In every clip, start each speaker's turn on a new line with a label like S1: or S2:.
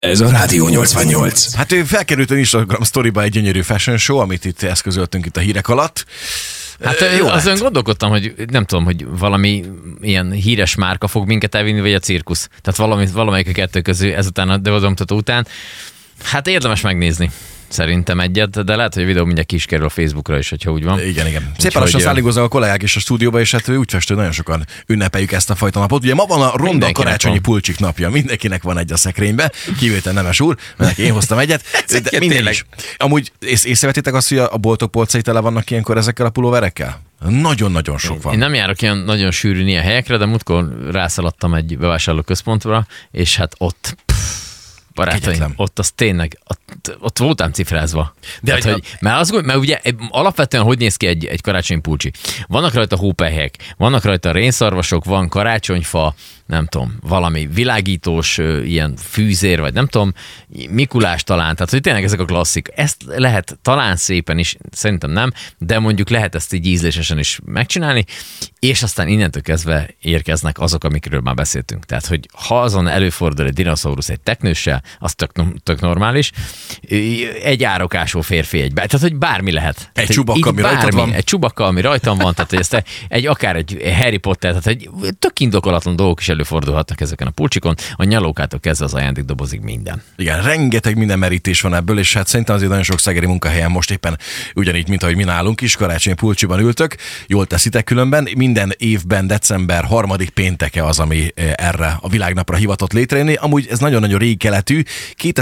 S1: Ez a Rádió 88.
S2: Hát ő felkerült a Instagram sztoriba egy gyönyörű fashion show, amit itt eszközöltünk itt a hírek alatt.
S3: Hát
S2: Ö,
S3: jó, azon
S2: lett.
S3: gondolkodtam, hogy nem tudom, hogy valami ilyen híres márka fog minket elvinni, vagy a cirkusz. Tehát valami, valamelyik a kettő közül ezután a bemutató után. Hát érdemes megnézni szerintem egyet, de lehet, hogy a videó mindjárt ki is kerül a Facebookra is, hogyha úgy van.
S2: Igen, igen. Szépen
S3: Úgyhogy,
S2: lassan
S3: ö,
S2: szállígoznak a kollégák is a stúdióba, és hát ő úgy fest, hogy nagyon sokan ünnepeljük ezt a fajta napot. Ugye ma van a ronda
S3: Mindenkinek
S2: karácsonyi
S3: van.
S2: pulcsik napja, mindenkinek van egy a szekrénybe, kivétel Nemes úr, mert neki én hoztam
S3: Hát,
S2: egyet. De
S1: egyet
S2: mindegy
S1: tényleg.
S2: is. Amúgy ész, észrevettétek azt, hogy a a boltok polcai tele vannak ilyenkor ezekkel a pulóverekkel? Nagyon-nagyon sok van.
S3: Én nem járok ilyen nagyon sűrűn ilyen helyekre, de múltkor rászaladtam egy bevásárlóközpontra, és hát ott pff,
S2: Kegyetlen.
S3: barátaim, ott az tényleg, ott, ott voltam cifrázva. De Tehát,
S1: hogy-
S3: hogy, mert, azt gondolom, mert ugye eh, alapvetően hogy néz ki egy, egy karácsonypulcsi? Vannak rajta hópehelyek, vannak rajta rénszarvasok, van karácsonyfa, nem tudom, valami világítós ö, ilyen fűzér, vagy nem tudom, Mikulás talán, tehát hogy tényleg ezek a klasszik. Ezt lehet talán szépen is, szerintem nem, de mondjuk lehet ezt így ízlésesen is megcsinálni, és aztán innentől kezdve érkeznek azok, amikről már beszéltünk. Tehát, hogy ha azon előfordul egy dinoszaurusz egy teknőssel, az tök, tök normális, egy árokású férfi egy, bá- tehát, hogy bármi lehet. Tehát, hogy
S2: csubakka,
S3: így
S2: ami rajtad
S3: bármi,
S2: van.
S3: Egy csubakka, ami rajtam van, tehát hogy ezt te- egy akár egy Harry Potter, tehát egy tök indokolatlan dolgok is előfordulhatnak ezeken a pulcsikon, a nyalókától kezdve az ajándékdobozig minden.
S2: Igen, rengeteg minden merítés van ebből, és hát szerintem azért nagyon sok szegeri munkahelyen most éppen ugyanígy, mint ahogy mi nálunk is, karácsonyi pulcsiban ültök, jól teszitek különben. Minden évben december harmadik pénteke az, ami eh, erre a világnapra hivatott létrejönni. Amúgy ez nagyon-nagyon régi keletű.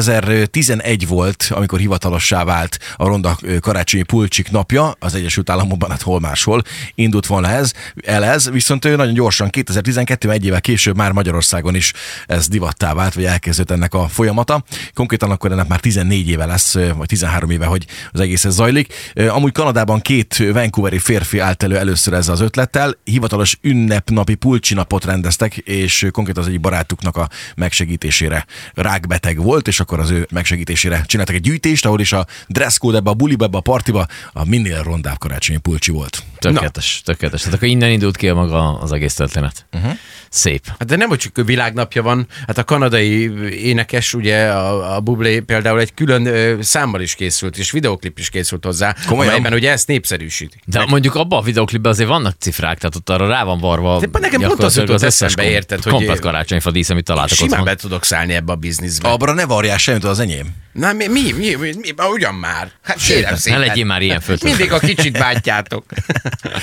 S2: 2011 volt, amikor hivatalossá vált a ronda eh, karácsonyi pulcsik napja, az Egyesült Államokban, hát hol máshol indult volna ez, el ez, viszont ő nagyon gyorsan 2012 egy évvel később már Magyarországon is ez divattá vált, vagy elkezdődött ennek a folyamata. Konkrétan akkor ennek már 14 éve lesz, vagy 13 éve, hogy az egész ez zajlik. Amúgy Kanadában két Vancouveri férfi állt elő először ezzel az ötlettel. Hivatalos ünnepnapi pulcsinapot rendeztek, és konkrétan az egyik barátuknak a megsegítésére rákbeteg volt, és akkor az ő megsegítésére csináltak egy gyűjtést, ahol is a dresscode ebbe a buliba, ebbe a partiba a minél rondább karácsonyi pulcsi volt.
S3: Tökéletes, tökéletes. Tehát akkor innen indult ki maga az egész történet.
S1: Mhm.
S3: Uh-huh. Szép.
S1: Hát de nem, hogy csak világnapja van, hát a kanadai énekes, ugye a, a Bublé például egy külön ö, számmal is készült, és videoklip is készült hozzá,
S2: Komolyan?
S1: amelyben ugye ezt népszerűsítik.
S3: De mondjuk abban a videoklipben azért vannak cifrák, tehát ott arra rá van varva.
S1: De nekem pont az
S3: gyakorlatilag
S1: jutott
S3: összes
S1: eszembe,
S3: kom-
S1: érted, hogy-
S3: Komplet karácsonyfa dísz, amit találtak
S1: Simán
S3: otthon.
S1: be tudok szállni ebbe a bizniszbe. A...
S2: Abra ne varjál semmit, az enyém.
S1: Na mi, mi, mi, mi, mi ah, ugyan már? Hát kérem
S3: ne
S1: szépen. Hát
S3: legyél már ilyen föltözött.
S1: Mindig a kicsit bántjátok.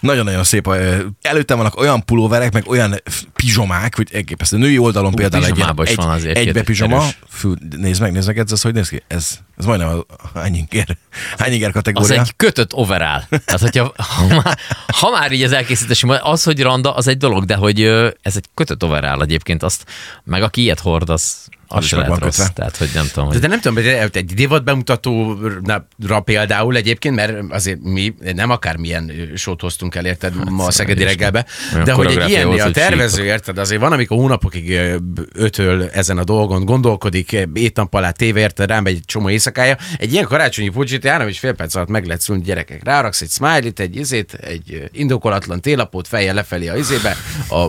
S2: Nagyon-nagyon szép. ö, Előttem vannak olyan pulóverek, meg olyan f- pizsomák, hogy elképesztő. Női oldalon például egy,
S3: pizsamában is
S2: egy,
S3: van azért
S2: egybe
S3: két
S2: pizsoma.
S3: erős.
S2: Fú, nézd meg, nézd meg, ez, ez hogy néz ki? Ez, ez majdnem a hány inger, hány inger
S3: az
S2: kategória.
S3: egy kötött overall. Tehát, hogyha, ha, már, ha már így az elkészítés, az, hogy randa, az egy dolog, de hogy ö, ez egy kötött overall egyébként, azt, meg aki ilyet hord, az, az
S2: is
S3: se
S2: meg
S3: lehet
S2: van
S3: rossz.
S2: kötve.
S3: Tehát, hogy nem tudom,
S1: De,
S3: hogy
S1: de nem tudom, hogy egy divat bemutatóra például egyébként, mert azért mi nem akármilyen sót hoztunk el, érted, hát, ma a Szegedi
S3: Isten.
S1: reggelbe,
S3: szóval Olyan
S1: de hogy egy
S3: koreográfia
S1: ilyen
S3: volt,
S1: a
S3: hogy
S1: tervező,
S3: sítok.
S1: érted, azért van, amikor hónapokig ö, ötöl ezen a dolgon, gondolkodik, ö, étnap alá téve, érted, rám egy csomó éjszakája, egy ilyen karácsonyi pucsit három és fél perc alatt meg lehet szülni gyerekek. Ráraksz egy smiley-t, egy izét, egy ö, indokolatlan télapót, fejjel lefelé a izébe, a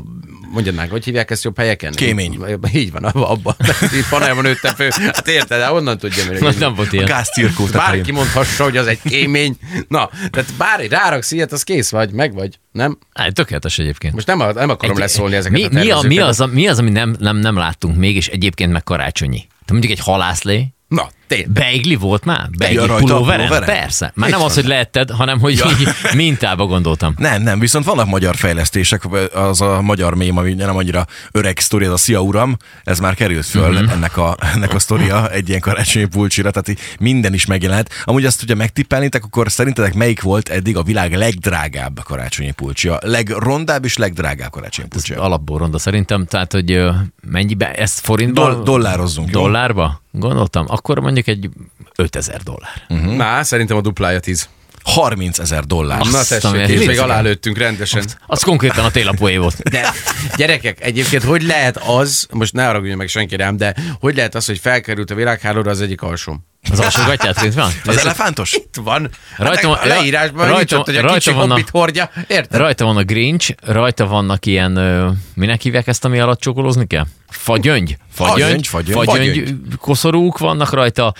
S1: mondjad meg, hogy hívják ezt jobb helyeken?
S2: Kémény.
S1: Így van, abban. abban. Itt panelban nőttem fő. Hát érted, hát onnan tudja, mire
S3: nem, nem volt
S2: A
S3: ilyen.
S2: gázcirkó tetején.
S1: Bárki mondhassa, hogy az egy kémény. Na, tehát bár ráraksz ilyet, az kész vagy, meg vagy, nem?
S3: Hát, tökéletes egyébként.
S1: Most nem, a- nem akarom
S3: Egy-
S1: leszólni ezeket
S3: mi,
S1: a
S3: mi, a, mi,
S1: tervezőket.
S3: az, a- mi az, ami nem, nem, nem láttunk még, és egyébként meg karácsonyi? Tehát mondjuk egy halászlé,
S1: Na, tényleg.
S3: Beigli volt már? Beigli
S2: Ja, rajta a
S3: pulóveren?
S2: pulóveren?
S3: Persze. Már
S2: Itt
S3: nem az,
S2: van.
S3: hogy lehetted, hanem hogy ja. így mintába gondoltam.
S2: Nem, nem, viszont vannak magyar fejlesztések, az a magyar mém, ami nem annyira öreg sztori, ez a Szia Uram, ez már került föl
S3: Mhm.
S2: uh-huh. ennek, a, ennek a sztoria egy ilyen karácsonyi pulcsira, tehát így minden is megjelent. Amúgy azt ugye megtippelnétek, akkor szerintetek melyik volt eddig a világ legdrágább karácsonyi pulcsia? Legrondább és legdrágább karácsonyi
S3: Hát Ez
S2: pulcsia?
S3: alapból ronda szerintem, tehát hogy ö, mennyibe, ezt forintban?
S2: Dol- dollározzunk, jó?
S3: Dollárba? Gondoltam. Akkor mondjuk egy 5000 dollár.
S1: Mm. Na, szerintem a duplája tíz.
S2: 30 ezer dollár.
S3: Azt
S1: Na
S3: a
S1: tessék,
S3: mindenit.
S1: és még alálőttünk rendesen.
S3: Az konkrétan a télapoé volt.
S1: De gyerekek, egyébként hogy lehet az, most ne haragudjon meg senki rám, de hogy lehet az, hogy felkerült a világhálóra az egyik alsóm?
S3: Az alsógatját, mint van?
S2: Az elefántos?
S1: Itt van.
S3: Rajtam-
S1: Rajtam, hát a leírásban
S3: rajtam-
S1: nincs ott, hogy a
S3: rajtam
S1: kicsi
S3: van a-
S1: hobbit hordja. Érted?
S3: Rajta van a Grinch, rajta vannak ilyen, ö, minek hívják ezt, ami alatt csókolózni kell? fagyöngy,
S2: Fagyöngy,
S3: fagyöngy,
S2: fagyöngy,
S3: fagyöngy, fagyöngy, koszorúk vannak rajta,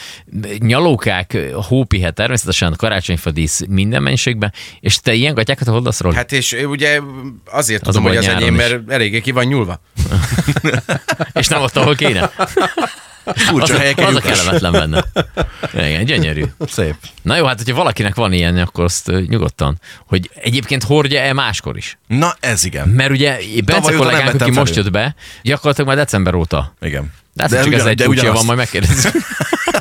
S3: nyalókák, hópihe természetesen, karácsonyfadísz minden mennyiségben, és te ilyen gatyákat hol adsz Robi?
S1: Hát és ugye azért
S3: Az
S1: tudom,
S3: a
S1: hogy
S3: baj
S1: az
S3: nyáron
S1: enyém,
S3: is.
S1: mert eléggé ki van nyúlva.
S3: És nem ott, ahol kéne?
S2: Furcsa
S3: az,
S2: helyeken
S3: az a
S2: lyukas.
S3: kellemetlen benne. Igen, gyönyörű.
S2: Szép.
S3: Na jó, hát hogyha valakinek van ilyen, akkor azt ö, nyugodtan, hogy egyébként hordja-e máskor is.
S2: Na ez igen.
S3: Mert ugye
S2: óta
S3: Bence
S2: nem
S3: kollégánk,
S2: vettem
S3: aki most
S2: felül.
S3: jött be, gyakorlatilag már december óta.
S2: Igen.
S3: De, de csak
S2: ugyan-
S3: ez egy
S2: de
S3: kulcsia
S2: ugyanazt-
S3: van, majd megkérdezzük.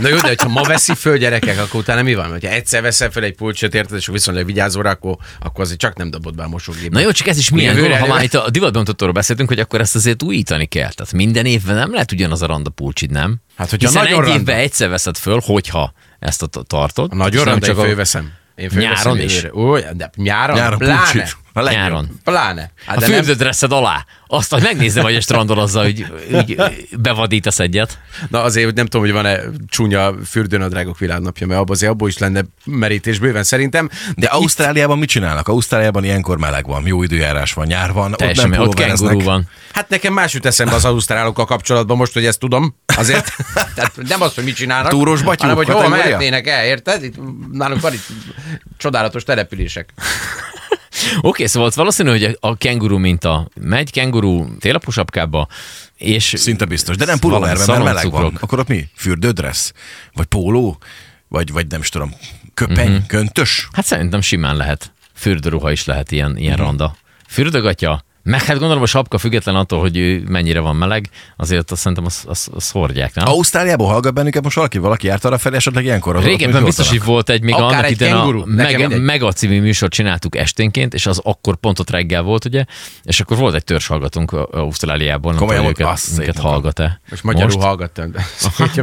S1: Na jó, de hogyha ma veszi föl gyerekek, akkor utána mi van? Hogyha egyszer veszel föl egy pulcsot, érted, és viszonylag vigyázol rá, akkor, akkor azért csak nem dobod be a mosógépbe.
S3: Na jó, csak ez is milyen
S1: Jövőre
S3: dolog, ha
S1: elő-
S3: már itt a divatbontatóról beszéltünk, hogy akkor ezt azért újítani kell. Tehát minden évben nem lehet ugyanaz a randa pulcsid, nem?
S1: Hát, hogyha
S3: Hiszen
S1: nagyon
S3: egy évben
S1: randa.
S3: egyszer veszed föl, hogyha ezt a t- tartod.
S1: A nagyon
S3: és nem
S1: randa, csak
S3: a-
S1: fölveszem. Én fölveszem
S3: Nyáron is?
S1: jövőre. Ó, de
S2: Nyáron
S1: nyáron, nyáron pláne.
S2: pulcsit. A legjobb.
S3: Nyáron.
S1: Pláne. Hát
S3: A
S1: de nem,
S3: fürdődresszed alá. Azt, hogy megnézem, hogy a strandon azzal, hogy, hogy bevadítasz egyet.
S1: na azért hogy nem tudom, hogy van-e csúnya fürdőnadrágok világnapja, mert abban azért abból is lenne merítés bőven szerintem.
S2: De Ausztráliában mit csinálnak? Ausztráliában ilyenkor meleg van, jó időjárás van, nyár van,
S3: Teljesen,
S2: ott
S3: mert
S2: nem
S3: ott kenguru
S2: pulóvereznek.
S3: van.
S1: Hát nekem más jut eszembe az ausztrálokkal kapcsolatban most, hogy ezt tudom. Azért tehát nem az, hogy mit csinálnak,
S2: Túrós batyú
S1: hanem hogy hol
S2: kategória?
S1: mehetnének el, érted? Itt, nálunk van itt csodálatos települések.
S3: Oké, szóval ott valószínű, hogy a kenguru minta megy, kenguru télapos sapkába, és
S2: Szinte biztos, de nem
S3: Valami
S2: pulóverben, mert meleg van.
S3: szaloncukrok.
S2: Akkor ott mi? Fürdődressz? Vagy póló? Vagy, vagy nem is tudom, köpeny, uh-huh. köntös?
S3: Hát szerintem simán lehet. Fürdőruha is lehet ilyen, ilyen
S1: Mhm.
S3: mm. randa. Fürdögatya, meg hát gondolom a sapka független attól, hogy ő mennyire van meleg, azért azt szerintem azt, azt, azt hordják, nem?
S2: Ausztráliában hallgat bennünket most valaki, valaki járt arra felé, esetleg ilyenkor az
S3: Régebben biztos, hogy volt egy, még
S1: Akár
S3: annak
S1: egy
S3: idején a
S1: kenguru, nekem
S3: meg,
S1: mindegy.
S3: Mega című műsort csináltuk esténként, és az akkor pont ott reggel volt, ugye, és akkor volt egy törzshallgatónk Ausztráliából, nem
S2: Komolyan
S3: tudom, hogy
S2: mondod?
S3: őket,
S2: Azt szép
S3: minket
S2: napon.
S3: hallgat-e.
S1: Most magyarul
S3: Most?
S1: hallgattam. De...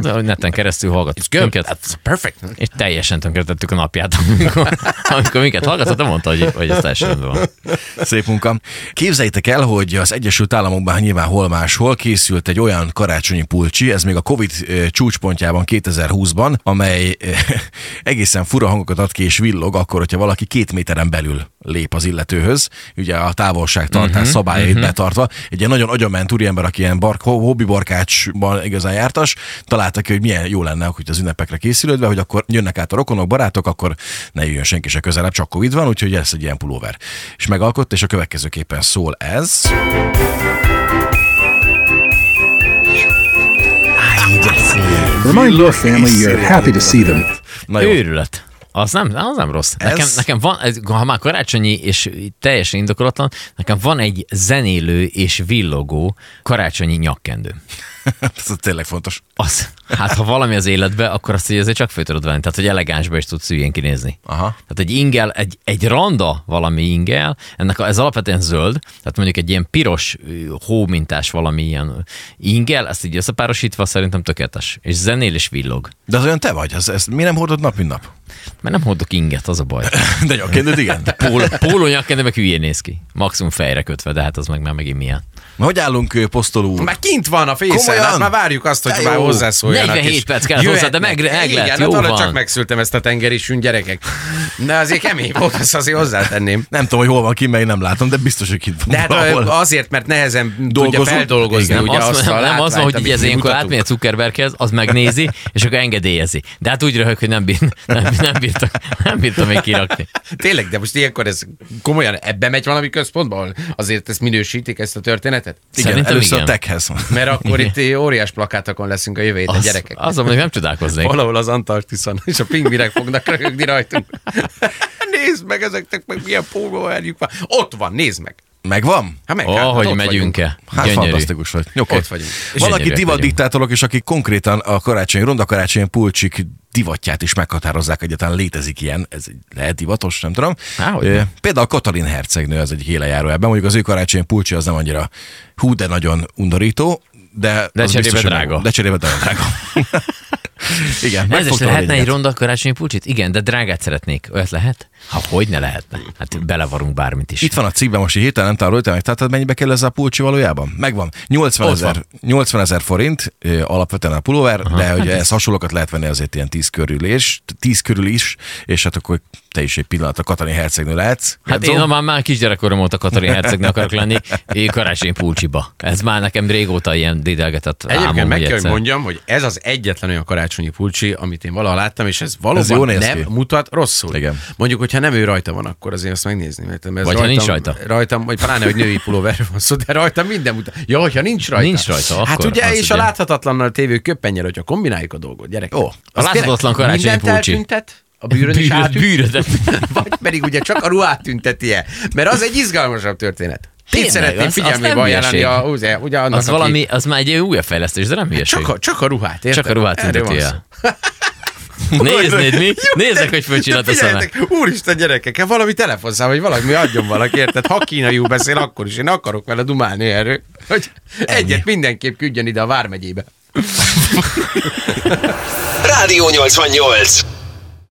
S3: De hogy neten keresztül hallgatott minket,
S1: That's perfect.
S3: és teljesen tönkretettük a napját, amikor, amikor minket hallgatott, de mondta, hogy, hogy ez teljesen rendben van.
S2: Szép munka. Képzeljétek el, hogy az Egyesült Államokban hát nyilván hol máshol készült egy olyan karácsonyi pulcsi, ez még a Covid eh, csúcspontjában 2020-ban, amely eh, egészen fura hangokat ad ki és villog akkor, hogyha valaki két méteren belül lép az illetőhöz, ugye a távolságtartás
S1: Mhm,
S2: uh-huh, szabályait uh-huh. betartva. Egy ilyen nagyon agyament úriember, aki ilyen bark, hobbi barkácsban igazán jártas, találta ki, hogy milyen jó lenne, hogy az ünnepekre készülődve, hogy akkor jönnek át a rokonok, barátok, akkor ne jöjjön senki se közelebb, csak Covid van, úgyhogy lesz egy ilyen pulóver. És megalkotta, és a következőképpen szól ez.
S4: Remind your family you're happy to see them.
S2: Na jó.
S3: Őrület. Az nem, az nem rossz.
S2: Ez-
S3: Nekem, nekem van, ez- ha már karácsonyi és teljesen indokolatlan, nekem van egy zenélő és villogó karácsonyi nyakkendő.
S2: Ez tényleg fontos.
S3: Az, hát ha valami az életbe, akkor azt így azért csak fő tudod venni. Tehát, hogy elegánsba is tudsz hülyén kinézni.
S2: Aha.
S3: Tehát egy ingel, egy, egy randa valami ingel, ennek a, ez alapvetően zöld, tehát mondjuk egy ilyen piros ö, hómintás valami ilyen ingel, ezt így összepárosítva szerintem tökéletes. És zenél és villog.
S2: De az olyan te vagy, ez, ezt mi nem hordod nap, mint nap?
S3: Mert nem hordok inget, az a baj.
S2: De nyakkendőd, igen.
S3: Póló, póló nyakkendő meg hülyén néz ki. Maximum fejre kötve, de hát az meg már megint milyen.
S2: Na, hogy állunk, ö, posztoló úr?
S1: Már kint van a fészen,
S2: Komolyan?
S1: hát már várjuk azt, hogy
S2: De
S1: már
S2: jó.
S1: hozzászóljanak.
S3: 47
S1: és
S3: perc kellett hozzá, de
S1: jöhetnek.
S3: meg- meg
S1: Igen,
S3: lett,
S1: hát
S3: jó
S1: arra
S3: van.
S1: csak megszültem ezt a tengeri sűn, gyerekek. De azért kemény volt, azt azért hozzátenném.
S2: Nem tudom, hogy hol van ki, mert én nem látom, de biztos, hogy itt van
S1: De hát
S2: valahol.
S1: ö, azért, mert nehezen tudja
S2: Dolgozunk?
S1: feldolgozni
S2: Igen.
S3: Nem,
S1: ugye
S3: ugye azt,
S1: azt
S3: nem
S1: a
S3: az van,
S1: látványt,
S3: hogy így
S1: amit
S3: ez
S1: mi
S3: ilyenkor
S1: mutatunk.
S3: átmegy a Zuckerberghez, az megnézi, és akkor engedélyezi. De hát úgy röhög, hogy nem, bír, nem, nem, bírtam, nem bírtam még kirakni.
S1: Tényleg, de most ilyenkor ez komolyan ebbe megy valami központba, ahol azért ezt minősítik, ezt a történetet?
S2: igen,
S3: szerintem
S2: először
S3: igen.
S2: a techhez.
S1: Mert akkor itt ö, óriás plakátokon leszünk a jövő héten,
S3: Az,
S1: gyerekek.
S3: Azon még nem csodálkoznék.
S1: Valahol az Antarktiszon, és a pingvirek fognak röhögni rajtunk. nézd meg ezeknek, meg milyen pólóerjük van. Ott van, nézd meg.
S2: Megvan?
S1: Hát meg,
S3: Ó,
S1: hát
S3: hogy
S1: ott vagyunk.
S3: megyünk-e?
S2: Hát Gyönyörű.
S3: Gyönyörű.
S2: fantasztikus vagy. Okay.
S1: Ott vagyunk.
S2: Valaki
S3: Zseniáliak
S2: divadiktátorok, és akik konkrétan a karácsonyi, ronda karácsonyi pulcsik divatját is meghatározzák, egyáltalán létezik ilyen, ez egy- lehet divatos, nem tudom.
S3: Há, hogy
S2: Ö,
S3: ne.
S2: Például Katalin hercegnő az egy élejáró ebben, mondjuk az ő karácsonyi pulcsi az nem annyira hú, de nagyon undorító, de,
S3: De
S2: az
S3: cserébe
S2: biztos, hogy
S3: drága.
S2: meg- De cserébe nagyon drága. Igen,
S3: Ez is
S2: megfogtam a
S3: lehetne egy
S2: lényeget.
S3: ronda karácsonyi pulcsit? Igen, de drágát szeretnék. Olyat lehet? Ha hogy ne lehetne? Hát belevarunk bármit is.
S2: Itt van a cikkben, most így hirtelen nem tároltam meg. Tehát mennyibe kerül ez a pulcsi valójában? Megvan. 80
S3: Ott
S2: ezer, 80 ezer forint ö, alapvetően a pulóver, Aha, de
S3: Hát
S2: ugye ezt hasonlókat lehet venni azért ilyen 10 körül és 10 körül is, és hát akkor te is egy pillanat a Katalin hercegnő lehetsz.
S3: Hát
S2: Gedzó.
S3: én már, már kisgyerekkorom óta Katalin hercegnő akarok lenni, én karácsonyi pulcsiba. Ez már nekem régóta ilyen dédelgetett álmom,
S1: Egyébként meg kell, hogy
S3: egyszer-
S1: mondjam, hogy ez az egyetlen olyan karácsonyi pulcsi, amit én valaha láttam, és ez valóban
S2: jó néz
S1: nem
S2: ki.
S1: mutat rosszul.
S2: Igen.
S1: Mondjuk, hogyha nem ő rajta van, akkor azért azt megnézni. Mert ez
S3: Vagy ha nincs rajta.
S1: Rajtam, vagy pláne, hogy női pulóver van szó, de rajtam minden mutat. Ja, hogyha nincs rajta.
S3: Nincs rajta,
S1: Hát
S3: akkor
S1: ugye,
S3: az
S1: és
S3: ugye.
S1: a láthatatlannal tévő köppennyel, hogyha kombináljuk a dolgot, gyerek.
S2: Ó, a
S3: láthatatlan karácsonyi pulcsi.
S1: eltüntet, a bűrön is
S3: Bűröd-
S1: átünt,
S3: bűrödet.
S1: vagy pedig ugye csak a ruhát tünteti el. Mert az egy izgalmasabb történet. Én
S3: Tényleg, az-
S1: szeretném
S3: az
S1: figyelmébe
S3: nem
S1: ajánlani
S3: hülyeség.
S1: a, ugye, ugye annak,
S3: Az
S1: aki- Hát
S3: valami, az már egy új fejlesztés, de nem hülyeség.
S1: csak a, csak a ruhát, érted?
S3: Csak a ruhát
S1: Erről
S3: tünteti
S1: van szó.
S3: el. Néznéd mi? Nézzek, hogy fölcsillant
S1: De
S3: a szeme.
S1: figyeljetek, Úristen gyerekek, hát valami telefonszám, vagy valami adjon valaki, érted? Ha kínaiul beszél, akkor is én akarok vele dumálni erről, hogy egyet mindenképp küldjön ide a Vármegyébe.
S5: Rádió 88.